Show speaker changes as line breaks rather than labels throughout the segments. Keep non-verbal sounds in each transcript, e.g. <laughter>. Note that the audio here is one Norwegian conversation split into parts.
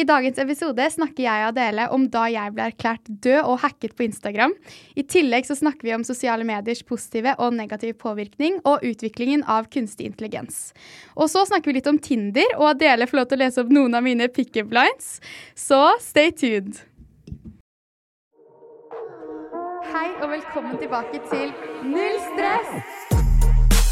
I dagens episode snakker jeg og Adele om da jeg ble erklært død og hacket på Instagram. I tillegg så snakker vi om sosiale mediers positive og negative påvirkning og utviklingen av kunstig intelligens. Og så snakker vi litt om Tinder, og Adele får lov til å lese opp noen av mine pickup lines, så stay tuned. Hei og velkommen tilbake til Null stress!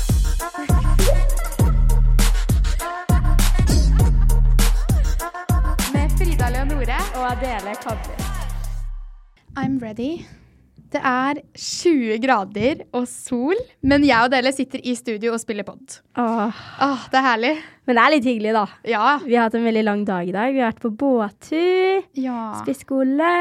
med Frida Leonore og Adele Kavli. I'm ready. Det er 20 grader og sol, men jeg og Adele sitter i studio og spiller pod.
Åh.
Åh, det er herlig.
Men det er litt hyggelig, da.
Ja.
Vi har hatt en veldig lang dag i dag. Vi har vært på båttur, spist god lunsj.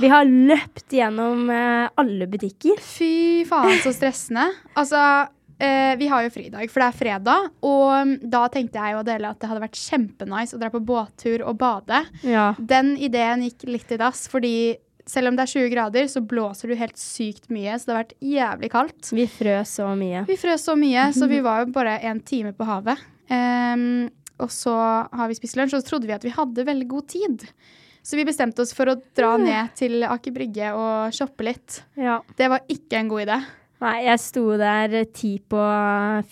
Vi har løpt gjennom eh, alle butikker.
Fy faen, så stressende. Altså, eh, vi har jo fridag, for det er fredag. Og mm, da tenkte jeg og Adele at det hadde vært kjempenice å dra på båttur og bade.
Ja.
Den ideen gikk litt i dass, fordi selv om det er 20 grader, så blåser du helt sykt mye, så det har vært jævlig kaldt.
Vi frøs så mye.
Vi frøs så mye, så
<laughs>
vi var jo bare en time på havet. Ehm, og så har vi spist lunsj, og så trodde vi at vi hadde veldig god tid. Så vi bestemte oss for å dra ned til Aker Brygge og shoppe litt.
Ja.
Det var ikke en god idé.
Nei, jeg sto der ti på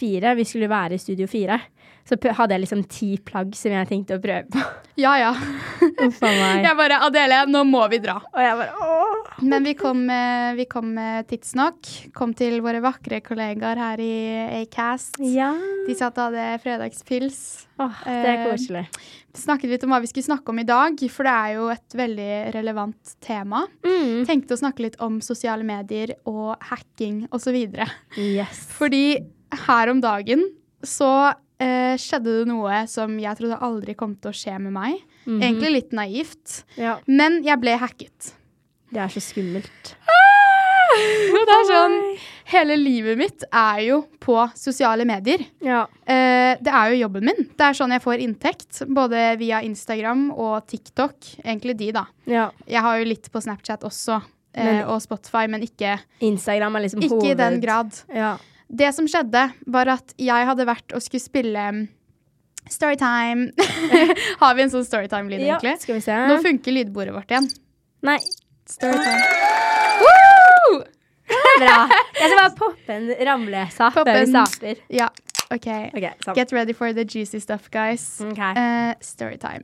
fire. Vi skulle være i Studio 4. Så p- hadde jeg liksom ti plagg som jeg tenkte å prøve på.
Ja, ja.
Uff a meg.
Jeg bare Adele, nå må vi dra.
Og jeg bare åh.
Men vi kom, eh, vi kom eh, tidsnok. Kom til våre vakre kollegaer her i Acast.
Ja.
De satt og hadde fredagspils.
Åh, det er
Eh,
koselig.
Snakket litt om hva vi skulle snakke om i dag, for det er jo et veldig relevant tema.
Mm.
tenkte å snakke litt om sosiale medier og hacking osv.
Yes.
Fordi her om dagen så eh, skjedde det noe som jeg trodde aldri kom til å skje med meg.
Mhm.
Egentlig litt naivt.
Ja.
Men jeg ble hacket.
Det er så skummelt. Ah! <laughs>
Og det er sånn Hele livet mitt er jo på sosiale medier.
Ja.
Eh, det er jo jobben min. Det er sånn jeg får inntekt. Både via Instagram og TikTok. Egentlig de, da.
ja.
Jeg har jo litt på Snapchat også, eh,
Men-
og Spotify, men ikke,
Instagram er liksom
ikke
hoved...
i den grad.
Ja.
Det som skjedde, var at jeg hadde vært og skulle spille mm, Storytime. <laughs> Har vi en sånn storytime-lyd,
Ja,
egentlig?
skal vi se.
Nå funker lydbordet vårt igjen.
Nei, <laughs>
Storytime. Woo!
bra. Jeg skal bare poppe en ramlesa
Popp
før vi
en-
starter.
Ja, OK.
Ok, sånn.
Get ready for the juicy stuff, guys.
Ok.
Eh, storytime.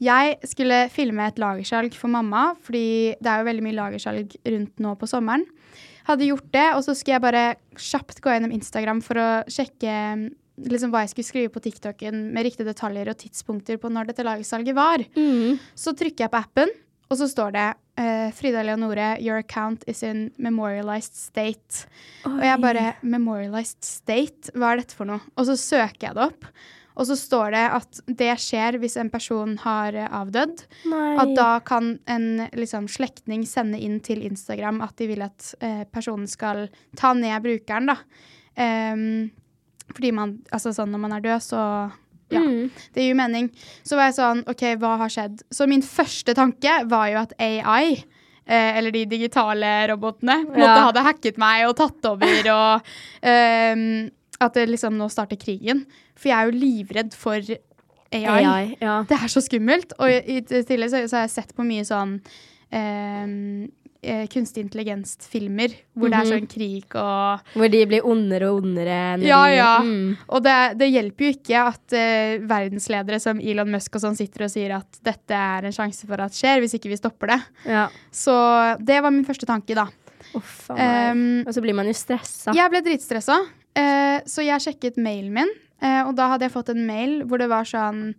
Jeg skulle filme et lagersalg for mamma, fordi det er jo veldig mye lagersalg rundt nå på sommeren. Hadde gjort det, og så skulle jeg bare kjapt gå gjennom Instagram for å sjekke mm, liksom, hva jeg skulle skrive på TikToken med riktige detaljer og tidspunkter på når dette lagersalget var.
Mm.
Så trykker jeg på appen, og så står det eh, Frida Leonore, your account is in memorialized state. Og jeg bare Memorialized state? Hva er dette for noe? Og så søker jeg det opp. Og så står det at det skjer hvis en person har eh, avdødd.
Nei.
At da kan en liksom, slektning sende inn til Instagram at de vil at eh, personen skal ta ned brukeren, da. Ehm, fordi man Altså sånn når man er død, så ja.
Mm.
Det gir jo mening. Så var jeg sånn, ok, hva har skjedd? Så min første tanke var jo at AI, eh, eller de digitale robotene, på en måte
Ja.
hadde hacket meg og tatt over, og ehm, at det liksom nå starter krigen. For jeg er jo livredd for AI.
AI. Ja.
Det er så skummelt. Og i i tillegg så, så har jeg sett på mye sånn ehm, eh, kunstig intelligens-filmer hvor det er sånn krig og
Hvor de blir ondere og ondere. når
Ja,
de-
ja.
Mm.
Og det, det hjelper jo ikke at eh, verdensledere som Elon Musk og sånn sitter og sier at dette er en sjanse for at skjer, hvis ikke vi stopper det.
ja.
Så det var min første tanke, da.
Uff a meg.
Ehm,
og så blir man jo stressa.
jeg ble dritstressa, eh, så jeg sjekket mailen min. eh, og da hadde jeg fått en mail hvor det var sånn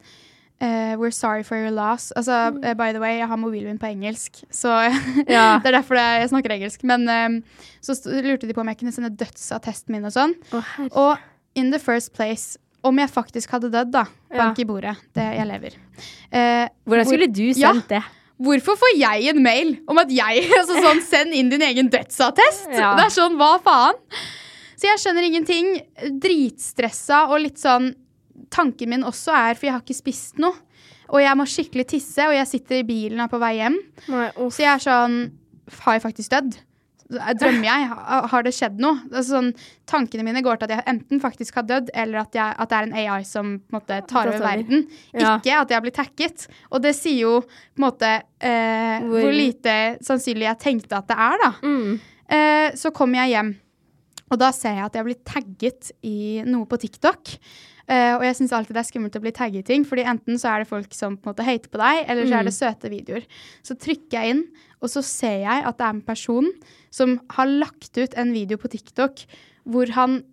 eh, We're sorry for your loss. Altså, eh, by the way, jeg har mobilen min på engelsk, så <laughs>
Ja.
det er derfor det, jeg snakker engelsk. Men eh, så st- lurte de på om jeg kunne sende dødsattesten min og sånn.
Å, herre.
Og in the first place Om jeg faktisk hadde dødd, da. Bank i bordet. Det jeg lever. Eh,
Hvordan skulle
hvor-
du
Ja.
sendt det?
Hvorfor får jeg en mail om at jeg <laughs> altså sånn, Send inn din egen dødsattest!
Ja.
Det er sånn, hva faen? Så jeg skjønner ingenting. Dritstressa og litt sånn Tanken min også er, for jeg har ikke spist noe, og jeg må skikkelig tisse, og jeg sitter i bilen og er på vei hjem.
Nei, uff.
Så jeg er sånn Har jeg faktisk dødd? eh, Drømmer jeg? Ha- Har det skjedd noe? Altså sånn, tankene mine går til at jeg enten faktisk har dødd, eller at, jeg, at det er en AI som på en måte, tar
Da
over
tar vi.
verden.
Ja.
Ikke at jeg blir tacket. Og det sier jo på en måte eh,
Hvor-
hvor... lite sannsynlig jeg tenkte at det er, da.
Mm.
Eh, så kommer jeg hjem, og da ser jeg at jeg blir tagget i noe på TikTok. Eh, og jeg syns alltid det er skummelt å bli tagget i ting, fordi enten så er det folk som på en måte hater på deg, eller så er
Mm.
det søte videoer. Så trykker jeg inn, og så ser jeg at det er en person som har lagt ut en video på TikTok hvor han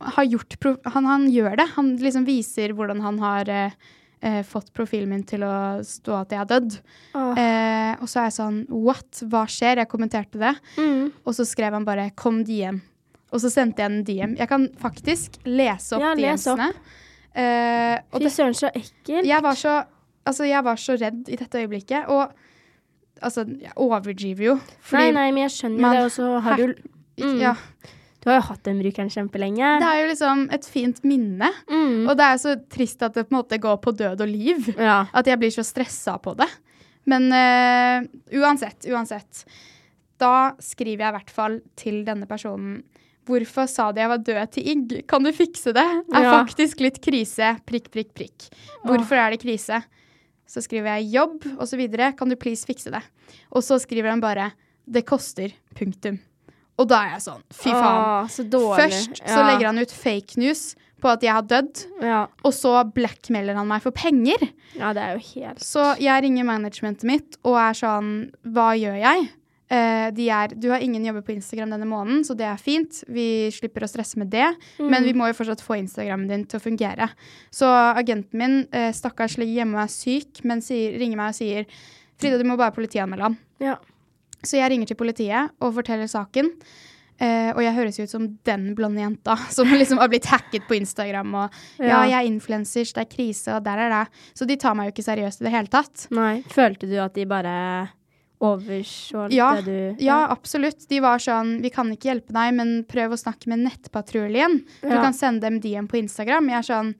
har gjort pro han, han gjør det. Han liksom viser hvordan han har eh, eh, fått profilen min til å stå at jeg er dødd.
Åh.
Eh, og så er jeg sånn What? Hva skjer? Jeg kommenterte det.
Mm.
Og så skrev han bare 'kom DM'. Og så sendte jeg en DM. Jeg kan faktisk lese opp
Ja, les opp.
DM-ene. Eh, og
Fy
det,
søren, så ekkelt.
jeg, var så, altså, jeg var så redd i dette øyeblikket. Og altså, jeg overdriver jo.
Nei,
Fordi
nei, men jeg skjønner
man
det. Og så har du mm.
Ja,
Du har jo hatt den brukeren kjempelenge.
det er jo liksom et fint minne.
Mm.
Og det er jo så trist at det på en måte går på død og liv.
Ja.
At jeg blir så stressa på det. Men eh, uansett, uansett. Da skriver jeg i hvert fall til denne personen. Hvorfor sa de jeg var død til igg? Kan du fikse det? Er
Ja.
faktisk litt krise. Prikk, prikk, prikk. Hvorfor er det krise? Så skriver jeg jobb og så videre. Kan du please fikse det? Og så skriver han bare det koster. Punktum. Og da er jeg sånn, fy faen.
Åh, så dårlig.
Først så legger han ut fake news på at jeg har dødd,
ja.
og så blackmailer han meg for penger.
ja, det er jo helt
Så jeg ringer managementet mitt og er sånn Hva gjør jeg? Eh, de er Du har ingen jobber på Instagram denne måneden, så det er fint. Vi slipper å stresse med det. Men vi må jo fortsatt få Instagrammen din til å fungere. Så agenten min, eh, stakkars, ligger hjemme og er syk, men sier, ringer meg og sier Frida, du må bare politianmelde han.
Ja.
Så jeg ringer til politiet og forteller saken. Eh, og jeg høres jo ut som den blonde jenta <laughs> som liksom har blitt hacket på Instagram. Og ja,
Ja.
jeg er influenser, det er krise, og der er det. Så de tar meg jo ikke seriøst i det hele tatt.
Nei. Følte du at de bare overså
Ja,
det du
ja, absolutt. De var sånn Vi kan ikke hjelpe deg, men prøv å snakke med nettpatruljen. Du
Ja.
kan sende dem DM på Instagram. Jeg er sånn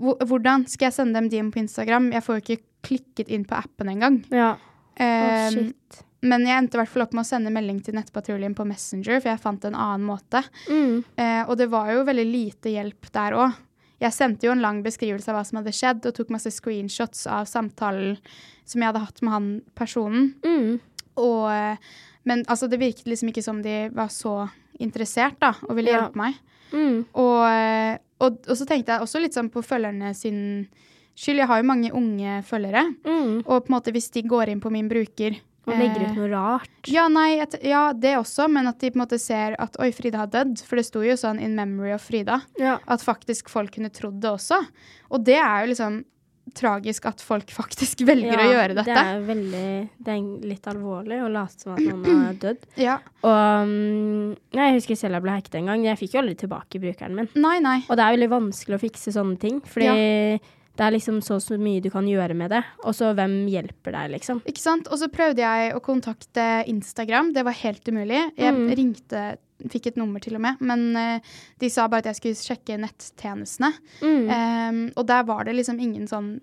"Hvor- Hvordan skal jeg sende dem DM på Instagram? Jeg får jo ikke klikket inn på appen engang.
Ja. Å,
Eh,
shit.
men jeg endte i hvert fall opp med å sende melding til nettpatruljen på Messenger, for jeg fant en annen måte.
Mm.
Eh, og det var jo veldig lite hjelp der òg. Jeg sendte jo en lang beskrivelse av hva som hadde skjedd, og tok masse screenshots av samtalen som jeg hadde hatt med han personen.
Mm.
Og, eh, men altså, det virket liksom ikke som de var så interessert da, og ville
Ja.
hjelpe meg.
Mm.
Og, eh, og, og så tenkte jeg også litt sånn på følgerne sin skyld. Jeg har jo mange unge følgere.
Mm.
Og på en måte hvis de går inn på min bruker
Og legger
eh,
ut noe rart.
ja, nei, jeg t- ja, det også, men at de på en måte ser at oi, Frida har dødd. For det sto jo sånn in memory of Frida.
Ja.
At faktisk folk kunne trodd det også. Og det er jo liksom tragisk at folk <laughs> faktisk velger å gjøre
Det
dette.
er, veldig, det er litt alvorlig å late som at
<clears throat>
noen er dødd.
Ja.
Og mm, nei, Jeg husker selv jeg ble hacket en gang. Jeg fikk jo aldri tilbake brukeren min.
Nei, nei.
Og det er veldig vanskelig å fikse sånne ting, fordi det er liksom så, så mye du kan gjøre med det. Og så hvem hjelper deg, liksom?
Ikke sant? Og så prøvde jeg å kontakte Instagram. Det var helt umulig. Jeg ringte, fikk et nummer til og med, men eh, de sa bare at jeg skulle sjekke nettjenestene.
Mm.
Eh, og der var det liksom ingen sånn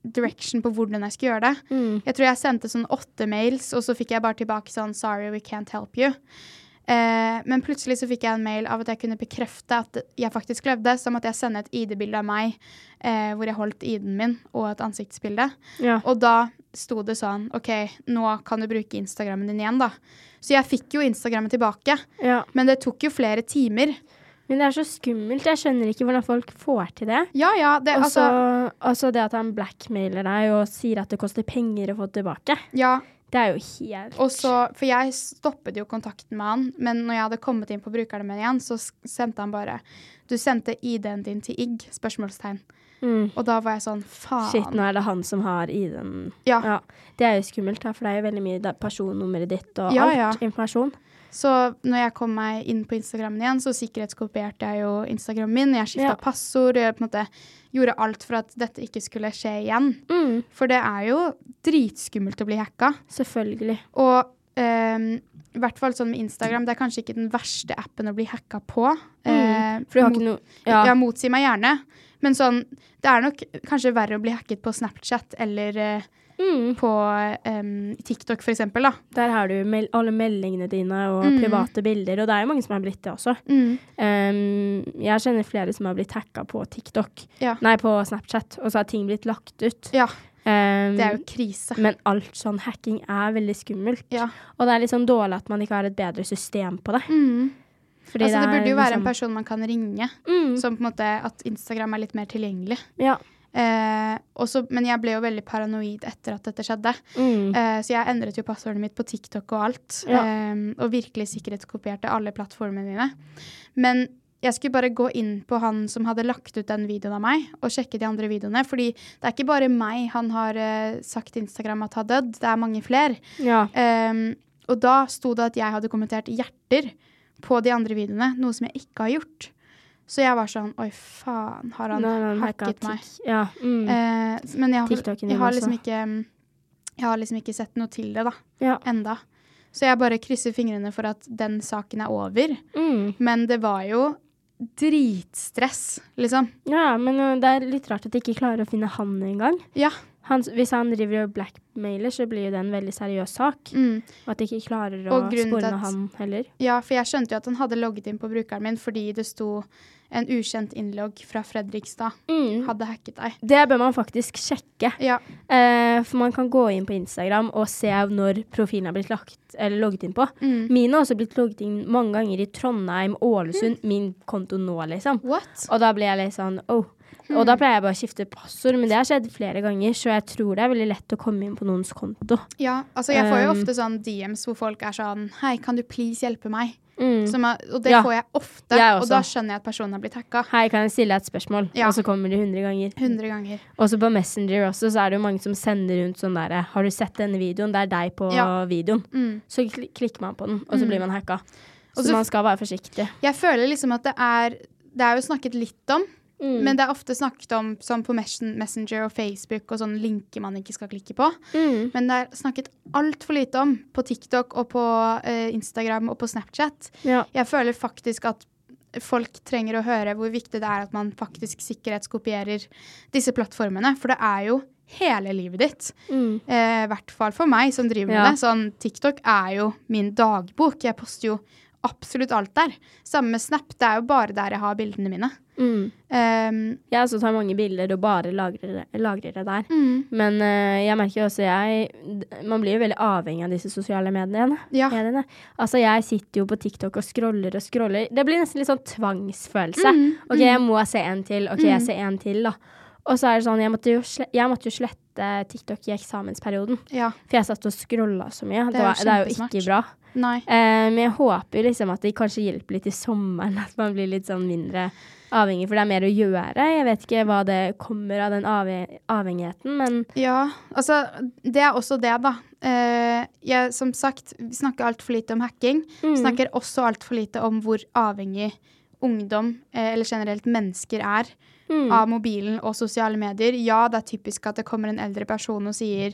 direction på hvordan jeg skulle gjøre
Mm.
det. Jeg tror jeg sendte sånn åtte mails, og så fikk jeg bare tilbake sånn sorry, we can't help you. Eh, Eh, men plutselig så fikk jeg en mail av at jeg kunne bekrefte at jeg faktisk levde, som at jeg sender et ID-bilde av meg eh, hvor jeg holdt ID-en min, og et ansiktsbilde.
Ja.
Og da sto det sånn OK, nå kan du bruke Instagrammen din igjen, da. Så jeg fikk jo Instagrammen tilbake,
ja.
men det tok jo flere timer.
Men det er så skummelt. Jeg skjønner ikke hvordan folk får til det.
Ja ja, det,
Og så
altså,
altså det at han blackmailer deg og sier at det koster penger å få det tilbake.
ja,
Det er jo helt
og så, For jeg stoppet jo kontakten med han, men når jeg hadde kommet inn på brukerne mine igjen, så s- sendte han bare Du sendte ID-en din til IGG? spørsmålstegn.
mm.
Og da var jeg sånn Faen.
Shit, nå er det han som har ID-en.
Ja.
Ja, det er jo skummelt, da, for det er jo veldig mye da- personnummeret ditt og
Ja,
alt
ja.
informasjon.
Så når jeg kom meg inn på Instagrammen igjen, så sikkerhetskopierte jeg jo Instagrammen min. Jeg skifta
Ja.
passord. Jeg på en måte gjorde alt for at dette ikke skulle skje igjen.
Mm,
For det er jo dritskummelt å bli hacka.
selvfølgelig.
Og ehm, i hvert fall sånn med Instagram, det er kanskje ikke den verste appen å bli hacka på. Eh,
Mm. For du har
mot-
ikke noe
ja.
ja.
motsi meg gjerne. Men sånn, det er nok kanskje verre å bli hacket på Snapchat eller eh,
Mm,
på ehm, TikTok, for eksempel, da.
der har du mel alle meldingene dine og
Mm.
private bilder, og det er jo mange som har blitt det også.
Mm.
Um, jeg kjenner flere som har blitt hacka på TikTok,
Ja.
nei, på Snapchat, og så har ting blitt lagt ut.
ja.
Um,
Det er jo krise.
Men alt sånn hacking er veldig skummelt.
Ja.
Og det er litt sånn dårlig at man ikke har et bedre system på det.
Mm.
Fordi
Altså, det
er
burde jo være en
liksom-
person man kan ringe,
Mm,
som på en måte at Instagram er litt mer tilgjengelig.
ja.
Eh, også, men jeg ble jo veldig paranoid etter at dette skjedde.
Mm.
Eh, så jeg endret jo passordet mitt på TikTok og alt.
Ja.
Eh, og virkelig sikkerhetskopierte alle plattformene mine. Men jeg skulle bare gå inn på han som hadde lagt ut den videoen av meg, og sjekke de andre videoene. Fordi det er ikke bare meg han har eh, sagt Instagram at har dødd, det er mange flere.
ja.
Ehm, og da sto det at jeg hadde kommentert hjerter på de andre videoene, noe som jeg ikke har gjort. Så jeg var sånn Oi, faen, har han
Nei, nei, han hacka
hacket meg?
Tik- Ja. Mm.
Eh, s- men jeg, har-
TikToken din
jeg, har liksom
også.
ikke, jeg har liksom ikke sett noe til det, da.
ja.
Enda. Så jeg bare krysser fingrene for at den saken er over.
Mm.
Men det var jo dritstress, liksom.
ja, men ø, det er litt rart at de ikke klarer å finne han engang.
Ja.
Han, hvis han driver og blackmailer, så blir jo det en veldig seriøs sak.
Mm.
Og at de ikke klarer å
Og grunnen til
spore
at-
han heller.
Ja, for jeg skjønte jo at han hadde logget inn på brukeren min fordi det sto en ukjent innlogg fra Fredrikstad
Mm.
hadde hacket deg.
Det bør man faktisk sjekke.
Ja.
Eh, for man kan gå inn på Instagram og se når profilen er blitt lagt, eller logget inn på.
Mm.
Mine har også blitt logget inn mange ganger i Trondheim, Ålesund,
Mm.
min konto nå, liksom.
What?
Og da blir jeg litt sånn oh.
Mm.
Og da pleier jeg bare å skifte passord, men det har skjedd flere ganger, så jeg tror det er veldig lett å komme inn på noens konto.
Ja, altså jeg får jo
Um,
ofte sånn DMs hvor folk er sånn Hei, kan du please hjelpe meg?
Mm.
Som er, og det
Ja.
får jeg ofte,
Jeg
og
også.
da skjønner jeg at personen har blitt hacka.
Hei, kan jeg stille deg et spørsmål?
Ja.
Og så kommer det 100 ganger.
100 ganger.
Og så på Messenger også, så er det jo mange som sender rundt sånn derre Har du sett denne videoen? Det er deg på
Ja.
videoen.
Mm.
Så kli- klikker man på den, og så blir man hacka. Så,
Og så-
man skal være forsiktig.
Jeg føler liksom at det er Det er jo snakket litt om, men det er ofte snakket om sånn på Messen- Messenger og Facebook og sånn linker man ikke skal klikke på.
Mm.
Men det er snakket altfor lite om på TikTok og på eh, Instagram og på Snapchat.
Ja.
Jeg føler faktisk at folk trenger å høre hvor viktig det er at man faktisk sikkerhetskopierer disse plattformene, for det er jo hele livet ditt.
Mm.
Eh, I hvert fall for meg som driver med
Ja.
det. Sånn, TikTok er jo min dagbok. Jeg poster jo absolutt alt der. Samme med Snap. Det er jo bare der jeg har bildene mine.
Mm.
Ehm,
Jeg også tar mange bilder og bare lagrer, lagrer det der.
mm,
Men eh, jeg merker jo også jeg d- Man blir jo veldig avhengig av disse sosiale mediene.
ja.
mediene. Altså, jeg sitter jo på TikTok og scroller og scroller. Det blir nesten litt sånn tvangsfølelse.
Mm,
OK, jeg må se en til. OK, jeg ser en til, da. Og så er det sånn, jeg måtte, jo sle- jeg måtte jo slette TikTok i eksamensperioden.
ja.
For jeg satt og scrolla så mye.
Det er
Det,
jo
var, det er jo
kjempesmart.
ikke bra.
Nei.
Eh, men jeg håper liksom at det kanskje hjelper litt i sommeren, <laughs> at man blir litt sånn mindre avhengig, for det er mer å gjøre. Jeg vet ikke hva det kommer av den avhe- avhengigheten, men
Ja, altså det er også det, da. Eh, jeg, som sagt, vi snakker altfor lite om hacking. Snakker også altfor lite om hvor avhengig ungdom, eh, eller generelt mennesker, er av mobilen og sosiale medier. Ja, det er typisk at det kommer en eldre person og sier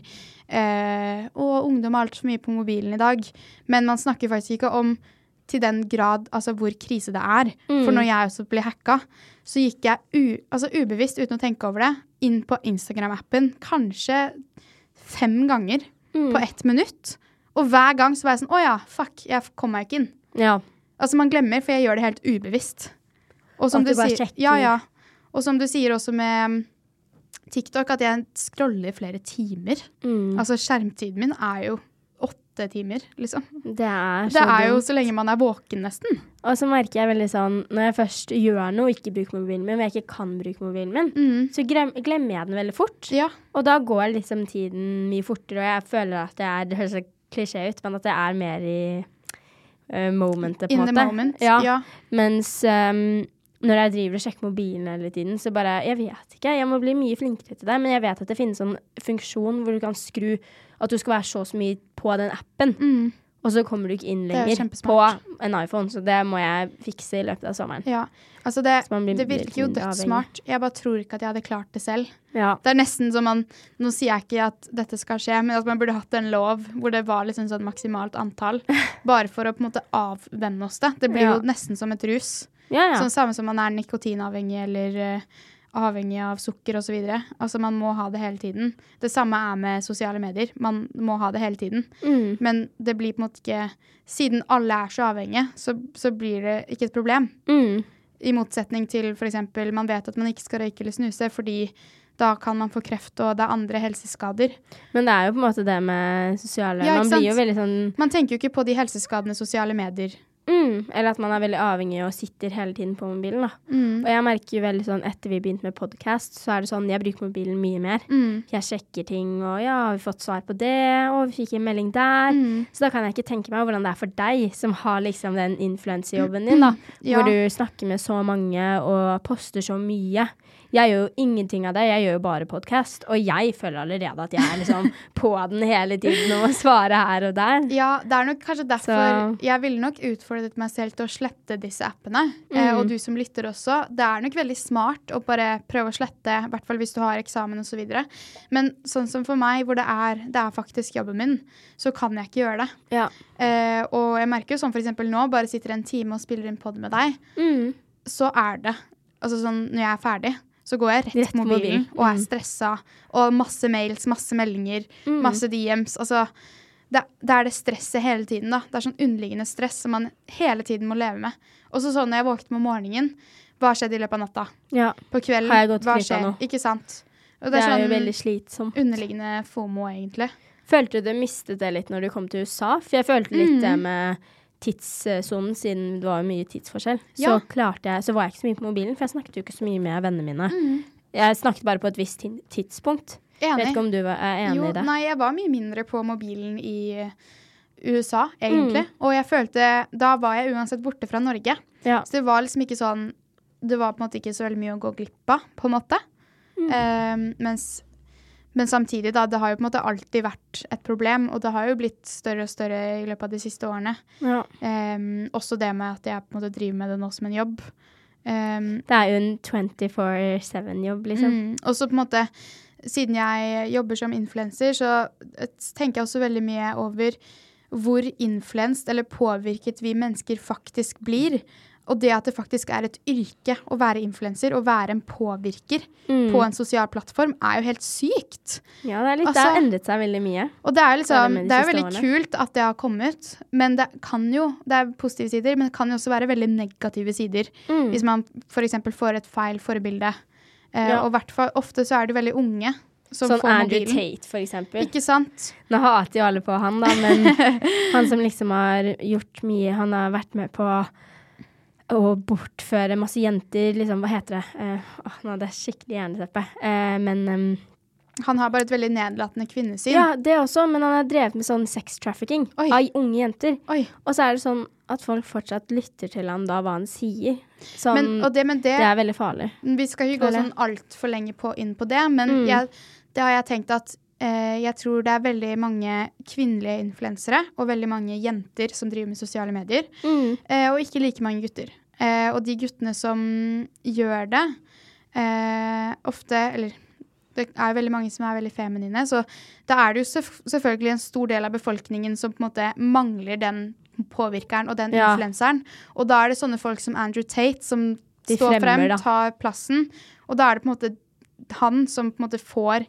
eh, 'Å, ungdom er altfor mye på mobilen i dag', men man snakker faktisk ikke om til den grad altså hvor krise det er. For når jeg også ble hacka, så gikk jeg u, altså ubevisst, uten å tenke over det, inn på Instagram-appen kanskje Mm.
Mm.
fem ganger på ett minutt. Og hver gang så var jeg sånn Å ja, fuck, jeg kom meg ikke inn.
e- Ja.
Altså man glemmer, for jeg gjør det helt ubevisst. Og
At du bare
sier,
sjekker.
ja, ja. Og som du sier også med mm, TikTok, at jeg scroller i flere timer.
Mm.
Altså skjermtiden min er jo åtte timer, liksom.
Det er så
Det er jo
dumt.
så lenge man er våken, nesten.
Og så merker jeg veldig sånn Når jeg først gjør noe og ikke bruker mobilen min, og jeg ikke kan bruke mobilen min,
Mm.
så grem, glemmer jeg den veldig fort.
Ja.
Og da går liksom tiden mye fortere, og jeg føler at jeg er Det høres så klisjé ut, men at jeg er mer i eh, momentet, på en
In
måte.
the moment.
Ja.
ja.
Mens ehm, når jeg driver og sjekker mobilen hele tiden, så bare Jeg vet ikke, jeg må bli mye flinkere til det, men jeg vet at det finnes en funksjon hvor du kan skru at du skal være så og så mye på den appen.
Mm.
Og så kommer du ikke inn
Det er
lenger på
kjempesmart.
en iPhone, så det må jeg fikse i løpet av sommeren.
Ja, altså det,
Så man blir
det virker jo
litt avhengig.
dødssmart. Jeg bare tror ikke at jeg hadde klart det selv.
Ja.
Det er nesten som man Nå sier jeg ikke at dette skal skje, men at man burde hatt en lov hvor det var liksom sånn maksimalt
<laughs>
antall. Bare for å på en måte avvenne oss det. Det blir
Ja.
jo nesten som et rus.
Ja, ja.
Sånn samme som man er nikotinavhengig eller eh, avhengig av sukker osv. Altså man må ha det hele tiden. Det samme er med sosiale medier. Man må ha det hele tiden.
Mm.
Men det blir på en måte ikke Siden alle er så avhengige, så, så blir det ikke et problem.
Mm.
I motsetning til f.eks. man vet at man ikke skal røyke eller snuse, fordi da kan man få kreft og det er andre helseskader.
Men det er jo på en måte det med sosiale
Ja, ikke
Man blir jo
sant?
veldig sånn
Man tenker jo ikke på de helseskadene sosiale medier
mm, Eller at man er veldig avhengig og sitter hele tiden på mobilen, da.
Mm.
Og jeg merker jo veldig sånn etter vi begynte med podkast, så er det sånn jeg bruker mobilen mye mer.
Mm.
Jeg sjekker ting, og ja, har vi fått svar på det? Og vi fikk en melding der. Så da kan jeg ikke tenke meg hvordan det er for deg, som har liksom den influensejobben din, da.
Mm. Ja.
Hvor du snakker med så mange og poster så mye. Jeg gjør jo ingenting av det, jeg gjør jo bare podkast. Og jeg føler allerede at jeg er <laughs> liksom på den hele tiden og må svare her og der.
Ja, det er nok kanskje derfor
Så-
jeg ville nok utfordret meg selv til å slette disse appene. Eh,
Mm.
og du som lytter også. Det er nok veldig smart å bare prøve å slette, i hvert fall hvis du har eksamen osv. Men sånn som for meg, hvor det er, det er faktisk jobben min, så kan jeg ikke gjøre det.
Ja.
Eh, og jeg merker jo sånn f.eks. nå, bare sitter en time og spiller inn pod med deg,
Mm.
så er det Altså sånn når jeg er ferdig, så går jeg rett,
Rett
på mobilen,
mobilen. Mm.
og er stressa. Og masse mails, masse meldinger, masse DMs. Altså det, det er det stresset hele tiden, da. Det er sånn underliggende stress som man hele tiden må leve med. Og så sånn når jeg våknet om morgenen, hva skjedde i løpet av natta?
ja.
På kvelden,
Har jeg gått
hva
glipp av
skjer?
noe?
Ikke sant? Og
Det
det
er,
er,
jo
sånn
veldig slitsomt.
underliggende fomo, egentlig.
Følte du du mistet det litt når du kom til USA? For jeg følte litt
Mm.
det med tidssonen, siden det var jo mye tidsforskjell.
Ja.
Så klarte jeg, så var jeg ikke så mye på mobilen, for jeg snakket jo ikke så mye med vennene mine. Jeg snakket bare på et visst tin- tidspunkt. Jeg vet
Mm. Enig.
ikke om du var- er enig
Jo,
i det.
nei, jeg var mye mindre på mobilen i USA, egentlig.
Mm.
Og jeg følte Da var jeg uansett borte fra Norge.
Ja.
Så det var liksom ikke sånn Det var på en måte ikke så veldig mye å gå glipp av, på en måte.
Mm.
Eh, mens, men samtidig, da. Det har jo på en måte alltid vært et problem, og det har jo blitt større og større i løpet av de siste årene.
Ja.
Eh, også det med at jeg på en måte driver med det nå som en jobb. Eh,
Det er jo en 24-7-jobb, liksom.
Mm. Og så på en måte, siden jeg jobber som influenser, så eh, tenker jeg også veldig mye over hvor influenst eller påvirket vi mennesker faktisk blir. Og det at det faktisk er et yrke å være influenser og være en påvirker på en sosial plattform, er jo helt sykt.
Ja, det, er litt, det
Altså-
har endret seg veldig mye.
Og det er,
Bare
liksom,
med de
det er jo
siste
veldig kult at det har kommet, men det kan jo Det er positive sider, men det kan jo også være veldig negative sider.
Mm.
Hvis man f.eks. får et feil forbilde. Eh,
Ja.
Og hvertfall- ofte så er det veldig unge som
Sånn
får
Andrew
mobilen.
Tate, for eksempel.
Ikke sant?
Nå hater jo alle på han, da,
<laughs>
men han som liksom har gjort mye Han har vært med på å bortføre masse jenter, liksom, hva heter det? Eh, åh, nå hadde jeg skikkelig jernteppe. Eh, men ehm,
Han har bare et veldig nedlatende kvinnesyn.
Ja, det også, men han har drevet med sånn sex trafficking
Oi.
av unge jenter.
Oi.
Og så er det sånn at folk fortsatt lytter til ham da, hva han sier. Sånn,
Men, og det, men det,
det er veldig farlig.
Vi skal ikke gå
Føler jeg.
sånn altfor lenge på, inn på det, men
Mm.
jeg, det har jeg tenkt at eh, jeg tror det er veldig mange kvinnelige influensere og veldig mange jenter som driver med sosiale medier, eh, og ikke like mange gutter. Eh, og de guttene som gjør det, eh, ofte Eller det er veldig mange som er veldig feminine, så da er det jo selvf- selvfølgelig en stor del av befolkningen som på en måte mangler den påvirkeren og den
Ja.
influenseren. Og da er det sånne folk som Andrew Tate som
De
står
fremmer,
frem,
da.
tar plassen, og da er det på en måte han som på en måte får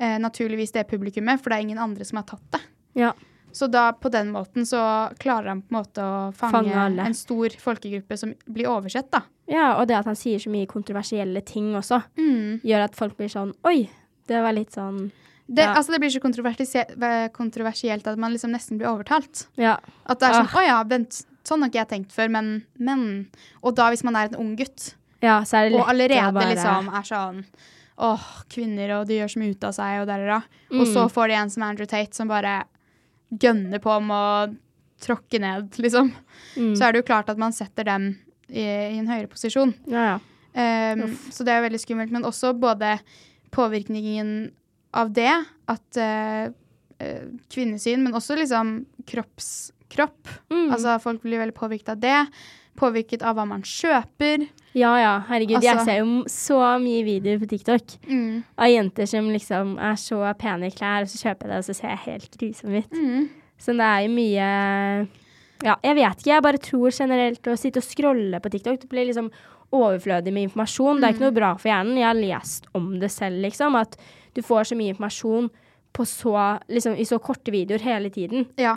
eh, naturligvis det publikummet, for det er ingen andre som har tatt det.
Ja.
Så da på den måten så klarer han på en måte å fange,
Fange alle.
en stor folkegruppe som blir oversett, da.
Ja, og det at han sier så mye kontroversielle ting også, gjør at folk blir sånn Oi, det var litt sånn
Det,
Ja.
altså, det blir så kontroversi- eh, kontroversielt at man liksom nesten blir overtalt.
Ja.
At det er sånn
Ah.
Å ja, vent, sånn har ikke jeg tenkt før, men, men Og da hvis man er en ung gutt,
ja så er det lett
og allerede
å bare
liksom er sånn Åh, kvinner, og de gjør så mye ut av seg, og der og da.
Mm.
Og så får de en som Andrew Tate, som bare gønner på med å tråkke ned, liksom.
Mm.
Så er det jo klart at man setter dem i, i en høyere posisjon.
Ja, ja.
Um, så det er veldig skummelt. Men også både påvirkningen av det, at eh, eh, kvinnesyn, men også liksom kropps, kropp.
Mm.
Altså folk blir veldig påvirket av det. Påvirket av hva man kjøper.
ja, ja. Herregud,
Altså-
jeg ser jo m- så mye videoer på TikTok av jenter som liksom er så pene i klær, og så kjøper jeg det, og så ser jeg helt grusom ut. Så det er jo mye Ja, jeg vet ikke. Jeg bare tror generelt å sitte og scrolle på TikTok Det blir liksom overflødig med informasjon. Det er ikke noe bra for hjernen. Jeg har lest om det selv, liksom. At du får så mye informasjon på så, liksom, i så korte videoer hele tiden.
Ja.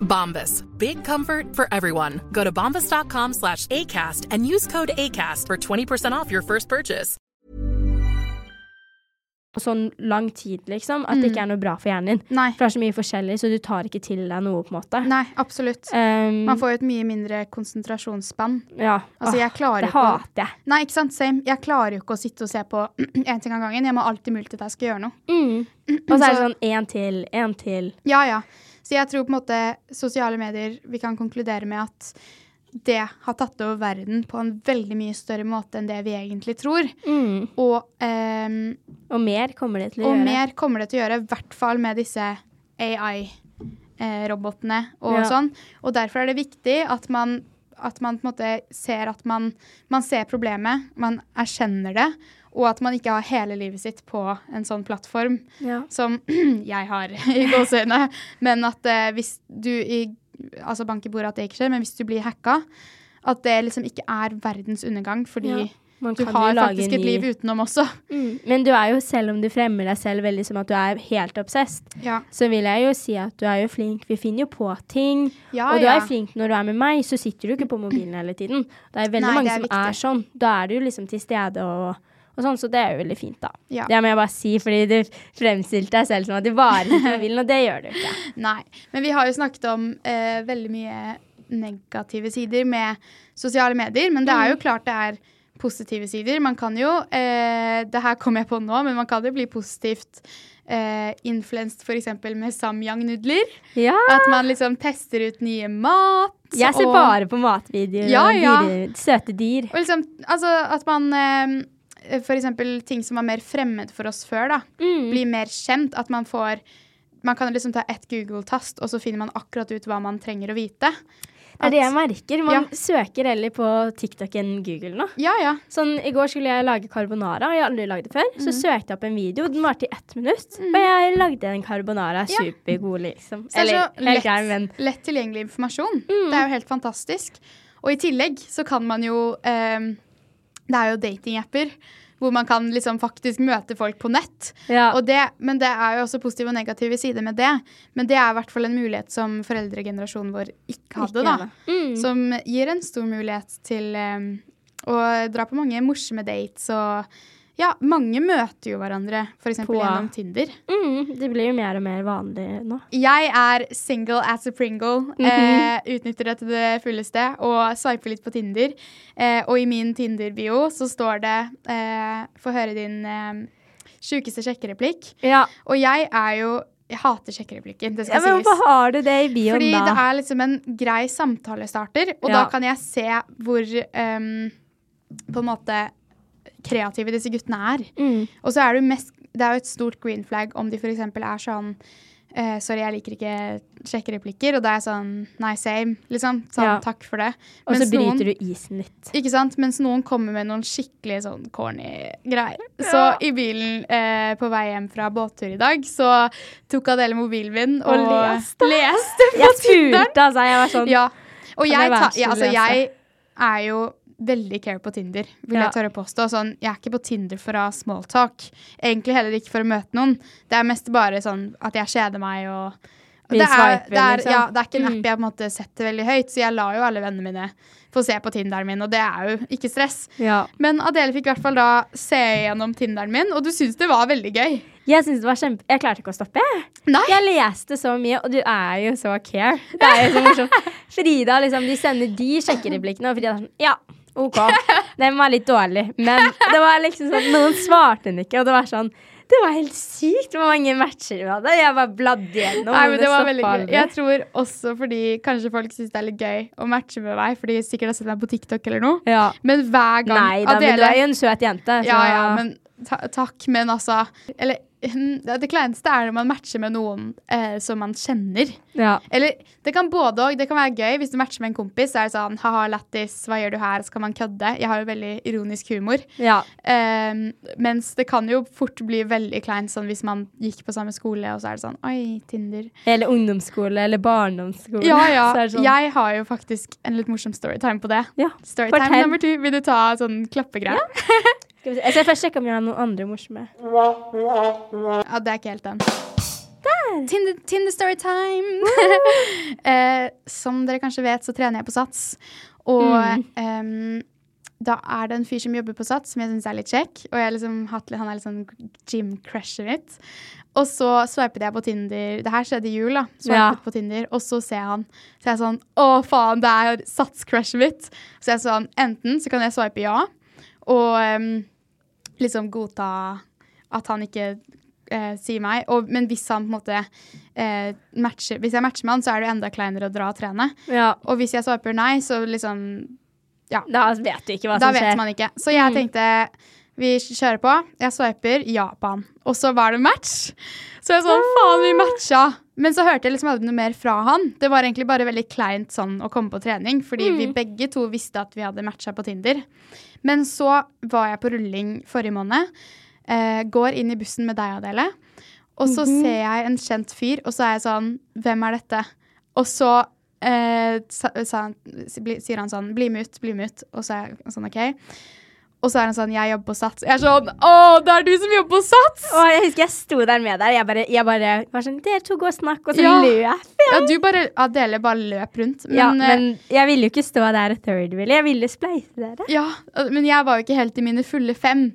Bombas. Big comfort for everyone. Go to bombas.com slash ACAST and use code ACAST for 20% off your first purchase.
På sånn lang tid, liksom. At det ikke er noe bra for hjernen din.
Nei.
For det er så mye forskjellig, så du tar ikke til deg noe, på en måte.
Nei, absolutt.
Um,
Man får jo et mye mindre konsentrasjonsspann.
ja.
Altså, jeg
Åh,
klarer
det
ikke å-
hater jeg.
Nei, ikke sant, same. Jeg klarer jo ikke å sitte og se på <clears throat> én ting av gangen. Jeg må alltid multitaske og gjøre noe.
<clears throat> Og så er det
Mm. Så-
sånn én til, én til.
Ja, ja. Så jeg tror på en måte sosiale medier Vi kan konkludere med at det har tatt over verden på en veldig mye større måte enn det vi egentlig tror. Og, ehm,
Og mer kommer det til å
Mm. og
gjøre.
mer kommer det til å gjøre, i hvert fall med disse AI-robotene og
Ja.
sånn. Og derfor er det viktig at man, at man på en måte ser at man, man ser problemet, man erkjenner det, og at man ikke har hele livet sitt på en sånn plattform
Ja.
som <clears throat> jeg har <laughs> i gåseøynene. Men at eh, hvis du i Altså bank i bordet at det ikke skjer, men hvis du blir hacka, at det liksom ikke er verdens undergang, fordi
Ja, man
du
kan jo
har
lage
faktisk
en
et
ny-
liv utenom også.
Mm. Men du er jo, selv om du fremmer deg selv veldig som at du er helt obsesst,
Ja.
så vil jeg jo si at du er jo flink. Vi finner jo på ting.
Ja,
og du
ja.
er flink når du er med meg, så sitter du ikke på mobilen hele tiden. Det er veldig
Nei,
mange
det er
som
viktig.
er sånn. Da er du jo liksom til stede og, og sånn, så det er jo veldig fint, da.
Ja.
Det må jeg bare si, fordi du fremstilte deg selv som at du bare sitter
<laughs>
på mobilen, og det gjør du ikke.
Nei. Men vi har jo snakket om eh, veldig mye negative sider med sosiale medier. Men det
Mm.
er jo klart det er positive sider. Man kan jo eh, Det her kom jeg på nå, men man kan jo bli positivt eh, influenced f.eks. med samyang-nudler.
Ja.
At man liksom tester ut nye mat.
Jeg ser
og,
bare på matvideoer
Ja,
og
ja.
dyre- søte dyr.
og liksom, altså At man eh, for eksempel ting som var mer fremmed for oss før, da,
Mm.
blir mer kjent. At man får Man kan liksom ta ett Google-tast, og så finner man akkurat ut hva man trenger å vite.
Det er det
At-
jeg merker. Man
Ja.
søker heller på TikTok enn Google nå.
Ja, ja.
Sånn, I går skulle jeg lage carbonara, og jeg har aldri lagd det før. Så
Mhm.
søkte jeg opp en video, den varte i ett minutt. Og jeg lagde en carbonara
Ja.
supergod, liksom.
Så det er så
Eller
lett,
helt grei, men Mm.
lett tilgjengelig informasjon. Det er jo helt fantastisk. Og i tillegg så kan man jo ehm, Det er jo datingapper hvor man kan liksom faktisk møte folk på nett.
Ja.
Og det, men det er jo også positive og negative sider med det. Men det er i hvert fall en mulighet som foreldregenerasjonen vår ikke hadde,
Ikke
da.
hadde. mm,
Som gir en stor mulighet til ehm, å dra på mange morsomme dates og Ja, mange møter jo hverandre f.eks.
På-
gjennom Tinder.
Mm, det blir jo mer og mer vanlig nå.
Jeg er single as a pringle. eh, utnytter det til det fulleste og swiper litt på Tinder. Eh, og i min Tinder-bio så står det eh, Få høre din eh, sjukeste sjekkereplikk.
Ja,
Og jeg er jo Jeg hater sjekkereplikken, det skal sies.
men Hvorfor har du det i bioen
Fordi
da?
det er liksom en grei samtalestarter, og da
Ja.
kan jeg se hvor ehm, på en måte kreative disse guttene er.
Mm.
Og så er det jo mest Det er jo et stort green flag om de f.eks. er sånn eh, sorry, jeg liker ikke kjekke replikker. Og da er jeg sånn Nei, same. Liksom. Sånn,
Ja.
Takk for det.
og så
Mens
bryter
noen-
du isen litt.
ikke sant? Mens noen kommer med noen skikkelig sånn corny greier. Så i bilen eh, på vei hjem fra båttur i dag, så tok Adele mobilen min og,
Og leste.
leste på
Jeg
Tinderen.
turte, altså. Jeg var sånn
Ja. Og
Ja, det
jeg,
var
ta,
så
ja, altså,
lese.
jeg er jo veldig care på Tinder, vil
Ja.
jeg tørre påstå. Sånn, jeg er ikke på Tinder for å ha smalltalk. Egentlig heller ikke for å møte noen. Det er mest bare sånn at jeg kjeder meg og
Vi
det er,
swiper,
det, er,
liksom.
ja, det er ikke en app jeg på en måte setter veldig høyt, så jeg lar jo alle vennene mine få se på Tinderen min, og det er jo ikke stress.
Ja.
Men Adele fikk i hvert fall da se gjennom Tinderen min, og du syns det var veldig gøy.
Jeg synes det var kjempe Jeg klarte ikke å stoppe. jeg.
Nei.
Jeg leste så mye, og du er jo så care. Det er
<laughs>
jo så morsomt. Frida liksom, de sender de sjekkereplikkene, og Frida er sånn Ja, OK. Den var litt dårlig. Men det var liksom sånn noen svarte den ikke, og det var sånn Det var helt sykt hvor mange matcher du hadde. Jeg bare bladde gjennom.
Nei, men det var
stoppet
veldig gøy.
aldri.
Jeg tror også fordi kanskje folk syns det er litt gøy å matche med meg, fordi de sikkert har sett meg på TikTok eller noe.
Ja.
Men hver gang
Nei da, men du er jo en søt jente. så-
Ja, ja, men ta takk, men altså Eller hm, det kleineste er når man matcher med noen eh, som man kjenner.
ja.
Eller det kan både og. Det kan være gøy hvis du matcher med en kompis. Så er det sånn ha-ha, lættis, hva gjør du her? Så kan man kødde. Jeg har jo veldig ironisk humor.
ja.
Ehm, mens det kan jo fort bli veldig kleint sånn hvis man gikk på samme skole, og så er det sånn oi,
<laughs>
Tinder.
Eller ungdomsskole eller barndomsskole.
Ja, ja.
<laughs> Så er det sånn,
Jeg har jo faktisk en litt morsom storytime på det.
ja.
Storytime
Fortell.
nummer to. Vil du ta sånn klappegreie?
Skal vi se. Jeg skal først sjekke om jeg har noen andre morsomme.
Ja. det er ikke helt den. Tinder, Tinder storytime! <laughs> eh, som dere kanskje vet, så trener jeg på Sats. Og ehm, da er det en fyr som jobber på Sats, som jeg syns er litt kjekk. Og jeg har liksom, hatt litt- han er litt sånn gym-crushet mitt. Og så swipet jeg på Tinder. Det her skjedde i jul, da. Swipet
Ja.
på Tinder, Og så ser jeg han. Så jeg er sånn Å, faen, det er Sats-crushet mitt. Så jeg er sånn Enten så kan jeg swipe ja, og ehm, liksom godta at han ikke eh, sier meg. Og, men hvis han på en måte eh, matcher Hvis jeg matcher med han, så er det jo enda kleinere å dra og trene.
Ja.
Og hvis jeg swiper nei, så liksom
Da vet du ikke hva
Da
som skjer. Mm.
vet man ikke. Så jeg tenkte vi kjører på. Jeg swiper ja på han. Og så var det match. Så jeg sånn faen, vi matcha. Men så hørte jeg liksom aldri noe mer fra han. Det var egentlig bare veldig kleint sånn å komme på trening, fordi vi
Mm.
begge to visste at vi hadde matcha på Tinder. Men så var jeg på rulling forrige måned. Eh, går inn i bussen med deg, Adele. Og så
Mhm.
ser jeg en kjent fyr, og så er jeg sånn Hvem er dette? Og så eh, sa, sa han, s- bli- sier han sånn Bli med ut, bli med ut. Og så er jeg sånn OK. Og så er han sånn Jeg jobber på Sats. Jeg er sånn Å, det er du som jobber på Sats!
Og jeg husker jeg sto der med deg. Jeg bare, jeg bare var sånn Dere to, gå og snakk. Og så
Ja.
løp jeg.
Ja, du bare Adele bare løp rundt. Men,
Ja,
eh,
men jeg ville jo ikke stå der og third wheel. Jeg ville spleise dere.
Ja, men jeg var jo ikke helt i mine fulle fem,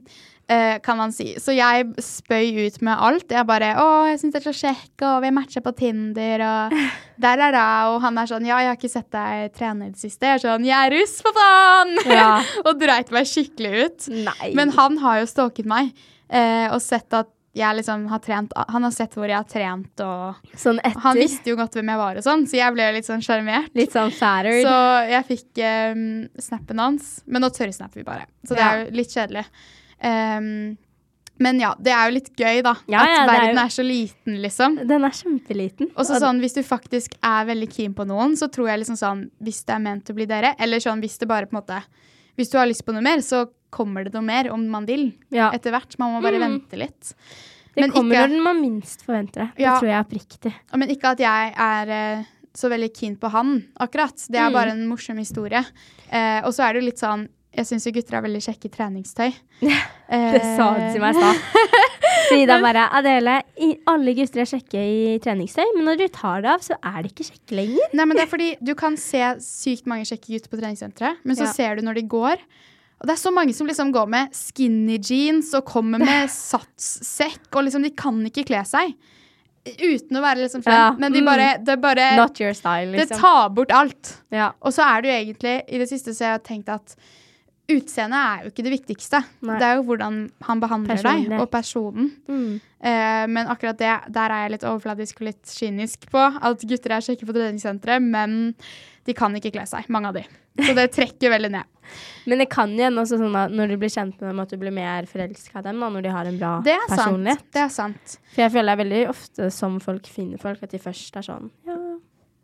eh, kan man si. Så jeg spøy ut med alt. Jeg bare 'Å, jeg syns det er så kjekk', og 'vi matcher på Tinder', og
<laughs>
der er det. Og han er sånn 'Ja, jeg har ikke sett deg trene i det siste'. Jeg er sånn 'Jeg er russ, for faen!'
Ja.
<laughs> og dreit meg skikkelig ut.
Nei.
Men han har jo stalket meg, eh, og sett at jeg liksom har trent Han har sett hvor jeg har trent, og
sånn etter.
han visste jo godt hvem jeg var og sånn, så jeg ble litt sånn sjarmert.
Litt sånn færer.
Så jeg fikk um, snappen hans, men nå tørrsnapper vi bare. Så det er
Ja.
jo litt kjedelig. Um, men ja, det er jo litt gøy, da. at
Ja, ja, det er
verden
jo-
er, så liten, liksom.
Den er kjempeliten.
Og så sånn, hvis du faktisk er veldig keen på noen, så tror jeg liksom sånn Hvis det er ment å bli dere, eller sånn hvis det bare på en måte Hvis du har lyst på noe mer, så kommer det noe mer om man vil.
ja, Mm.
Etter hvert. Man må bare vente litt.
det
men
kommer
ikke-
når den man minst forventer det. Det
Ja.
tror jeg oppriktig.
Men ikke at jeg er eh, så veldig keen på han, akkurat. Det
Mm.
er bare en morsom historie. Eh, og så er det jo litt sånn Jeg syns jo gutter er veldig kjekke i treningstøy.
<laughs>
Eh,
Det sa hun til meg
<laughs>
i stad. Frida bare Adele, i- alle gutter er kjekke i treningstøy, men når du tar det av, så er de ikke kjekke lenger.
Nei, men det er fordi du kan se sykt mange kjekke gutter på treningssenteret, men så
Ja.
ser du når de går, Og det er så mange som liksom går med skinny jeans og kommer
<laughs>
med satssekk, og liksom de kan ikke kle seg. Uten å være liksom slem,
Ja,
men de
mm.
bare, det bare
Not your style,
Eh, Det
liksom.
tar bort alt.
Ja.
Og så er det jo egentlig, i det siste så har jeg tenkt at utseendet er jo ikke det viktigste.
Nei.
Det er jo hvordan han behandler
Personen
deg,
din.
og personen.
Mm.
Eh, men akkurat det, der er jeg litt overfladisk og litt kynisk på. At gutter er kjekke på treningssenteret, men de kan ikke kle seg, mange av de. Så det trekker veldig ned.
Men det kan jo hende også sånn at når du blir kjent med dem, at du blir mer forelska i dem da, når de har en bra
Det er
personlighet.
sant. Det er sant.
For jeg føler det er veldig ofte som folk finner folk, at de først er sånn ja,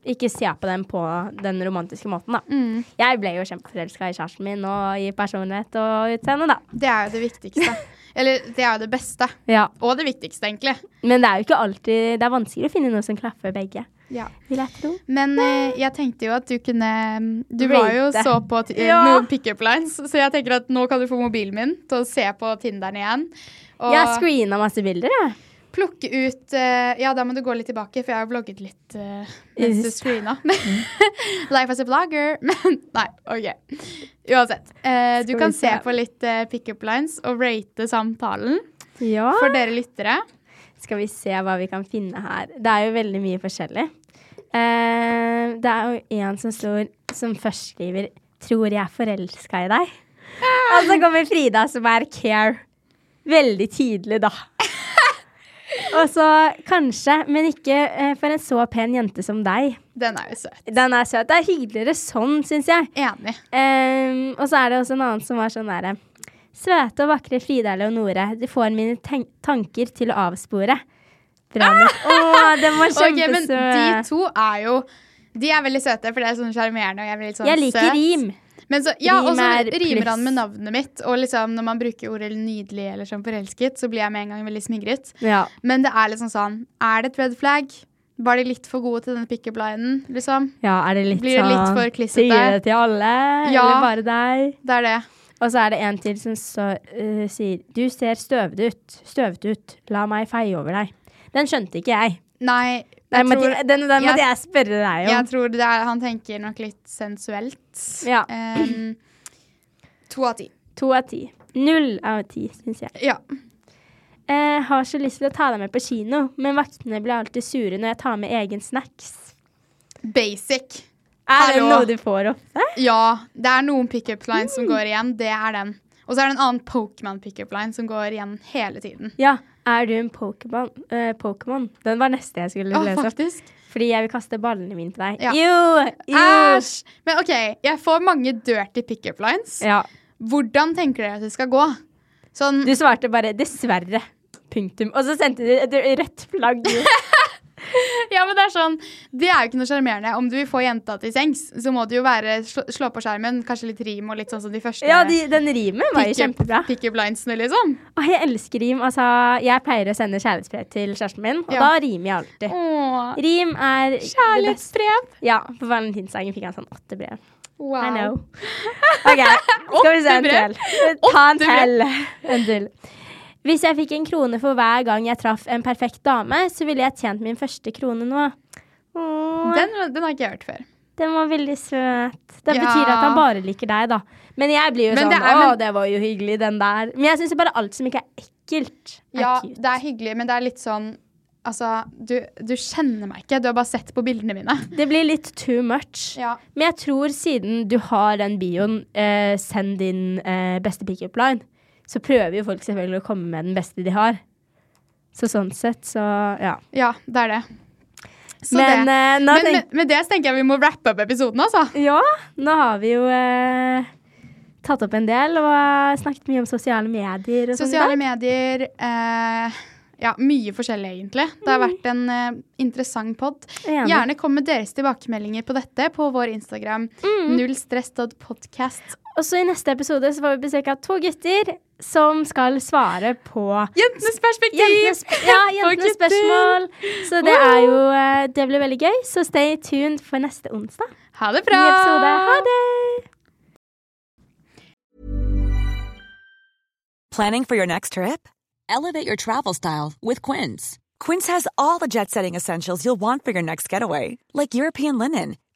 Ikke se på dem på den romantiske måten, da.
Mm.
Jeg ble jo kjempeforelska i kjæresten min og i personlighet og utseende, da.
Det er jo det
<laughs>
viktigste. Eller det er jo det beste.
Ja.
Og det viktigste, egentlig.
Men det er jo ikke alltid Det er vanskelig å finne noe som klaffer begge,
Ja.
vil jeg tro.
Men eh, jeg tenkte jo at du kunne mm, Du var jo
Rate.
så på t-
Ja.
noen pick-up lines, så jeg tenker at nå kan du få mobilen min til å se på Tinderen igjen. Og
Jeg screena masse bilder, jeg.
plukke ut eh, Ja, da må du gå litt tilbake, for jeg har jo vlogget litt eh, mens du
Yes.
screena.
Mm.
<laughs> Life as a blogger. <laughs> Men nei, OK. Uansett. Eh, du
Skal
kan
vi se.
se på litt eh, pick-up lines og rate samtalen
Ja.
for dere lyttere.
Skal vi se hva vi kan finne her. Det er jo veldig mye forskjellig. Eh, det er jo en som står som først skriver 'Tror jeg er forelska i deg'. Og så kommer Frida som er care. Veldig tidlig, da. <laughs> Og så kanskje, men ikke eh, for en så pen jente som deg.
Den er jo søt.
Den er søt. Det er hyggeligere sånn, syns jeg.
Enig.
Ehm, og så er det også en annen som var sånn derre Søte og vakre Frida Leonore, du får mine ten tanker til å avspore. Bra nok. Å, den var
Ah! <laughs> Ok, men de
kjempesøt.
to er jo De er veldig søte, for det er sånn sjarmerende. og jeg er veldig Sånn
Jeg liker
søt.
rim.
Men så, ja,
Rim
og så
er
rimer han
pluss.
med navnet mitt. Og liksom, når man bruker ordet nydelig eller sånn forelsket, så blir jeg med en gang veldig smigret.
Ja.
Men det er liksom sånn Er det et red flag? Var de litt for gode til denne pick-up linen? Liksom?
ja, er det litt
Blir det
sånn
litt for klissete?
Sier det til alle,
Ja.
eller bare deg?
Det er det.
Og så er det en til som så, eh, sier Du ser støvete ut. Støvete ut. La meg feie over deg. Den skjønte ikke jeg.
Nei, jeg,
Den måtte,
tror,
jeg- den, den
jeg-
måtte jeg spørre deg om.
jeg tror det er, han tenker nok litt sensuelt. Ehm,
Ja.
Em, to av ti.
To av ti. Null av ti, syns jeg.
Ja.
Eh, har så lyst til å ta deg med på kino, men vaktene blir alltid sure når jeg tar med egen snacks.
Basic.
Er det
Hallo?
noe du får ofte?
Ja, det er noen pickup lines som går igjen. Det er den. Og så er det en annen Pokémon pickup line som går igjen hele tiden.
Ja. Er du en Pokémon? Eh, Pokémon? Den var neste jeg skulle
Å,
lese opp.
faktisk.
Fordi jeg vil kaste ballene mine på deg.
Ja.
Jo! jo.
Æsj! Men OK, jeg får mange dirty pickup lines.
Ja.
Hvordan tenker dere at det skal gå? Sånn
Du svarte bare 'dessverre'. Punktum. Og så sendte du et rødt flagg.
<laughs> Ja, men det er sånn Det er jo ikke noe sjarmerende. Om du vil få jenta til sengs, så må det jo være slå, slå på skjermen, kanskje litt rim og litt sånn som de første
ja, de, den rimen var jo
pick-up-
kjempebra.
pick-up linesene, liksom.
Å, jeg elsker rim. Altså, jeg pleier å sende kjærlighetsbrev til kjæresten min, og
Ja.
da rimer jeg alltid.
Åh,
Rim er det beste.
Kjærlighetsbrev.
Ja, på valentinsdagen fikk jeg sånn åtte brev.
Wow.
I know. OK, skal vi se en
brev.
til. Ta en
Åtte brev.
til. En til. Hvis jeg fikk en krone for hver gang jeg traff en perfekt dame, så ville jeg tjent min første krone nå. Åh,
Den, den har ikke jeg hørt før.
den var veldig søt. Det
Ja.
betyr at han bare liker deg, da. Men jeg blir jo
Men
sånn
det er-
Å,
men-
det var jo hyggelig, den der. Men jeg syns bare alt som ikke er ekkelt, er
Ja,
cute.
det er hyggelig, men det er litt sånn Altså, du, du kjenner meg ikke. Du har bare sett på bildene mine.
Det blir litt too much.
Ja.
Men jeg tror siden du har den bioen, eh, send din eh, beste pickup line, så prøver jo folk selvfølgelig å komme med den beste de har. Så sånn sett, så ja.
Ja, det er det. Så
Men,
det.
eh, nå
men
tenk-
med, med det så tenker jeg vi må wrappe opp episoden, altså.
Ja, nå har vi jo eh, tatt opp en del og eh, snakket mye om sosiale medier og sånn. i
Sosiale
dag.
medier eh, Ja, mye forskjellig, egentlig. Det har vært en eh, interessant pod.
Mm. Enig.
Gjerne kom med deres tilbakemeldinger på dette på vår Instagram.
Mm.
Nullstress.podcast.
Og så i neste episode så får vi besøk av to gutter som skal svare på
Jentenes perspektiv!
Jentenes,
<laughs>
ja,
gutter.
jentenes spørsmål. Så det er jo eh, Det blir veldig gøy. Så stay tuned for neste onsdag.
Ha det
Ny
bra!
episode. Ha det!
Planning for your next trip? Elevate your travel style with Quince. Quince has all the jet setting essentials you'll want for your next getaway, like European linen,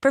for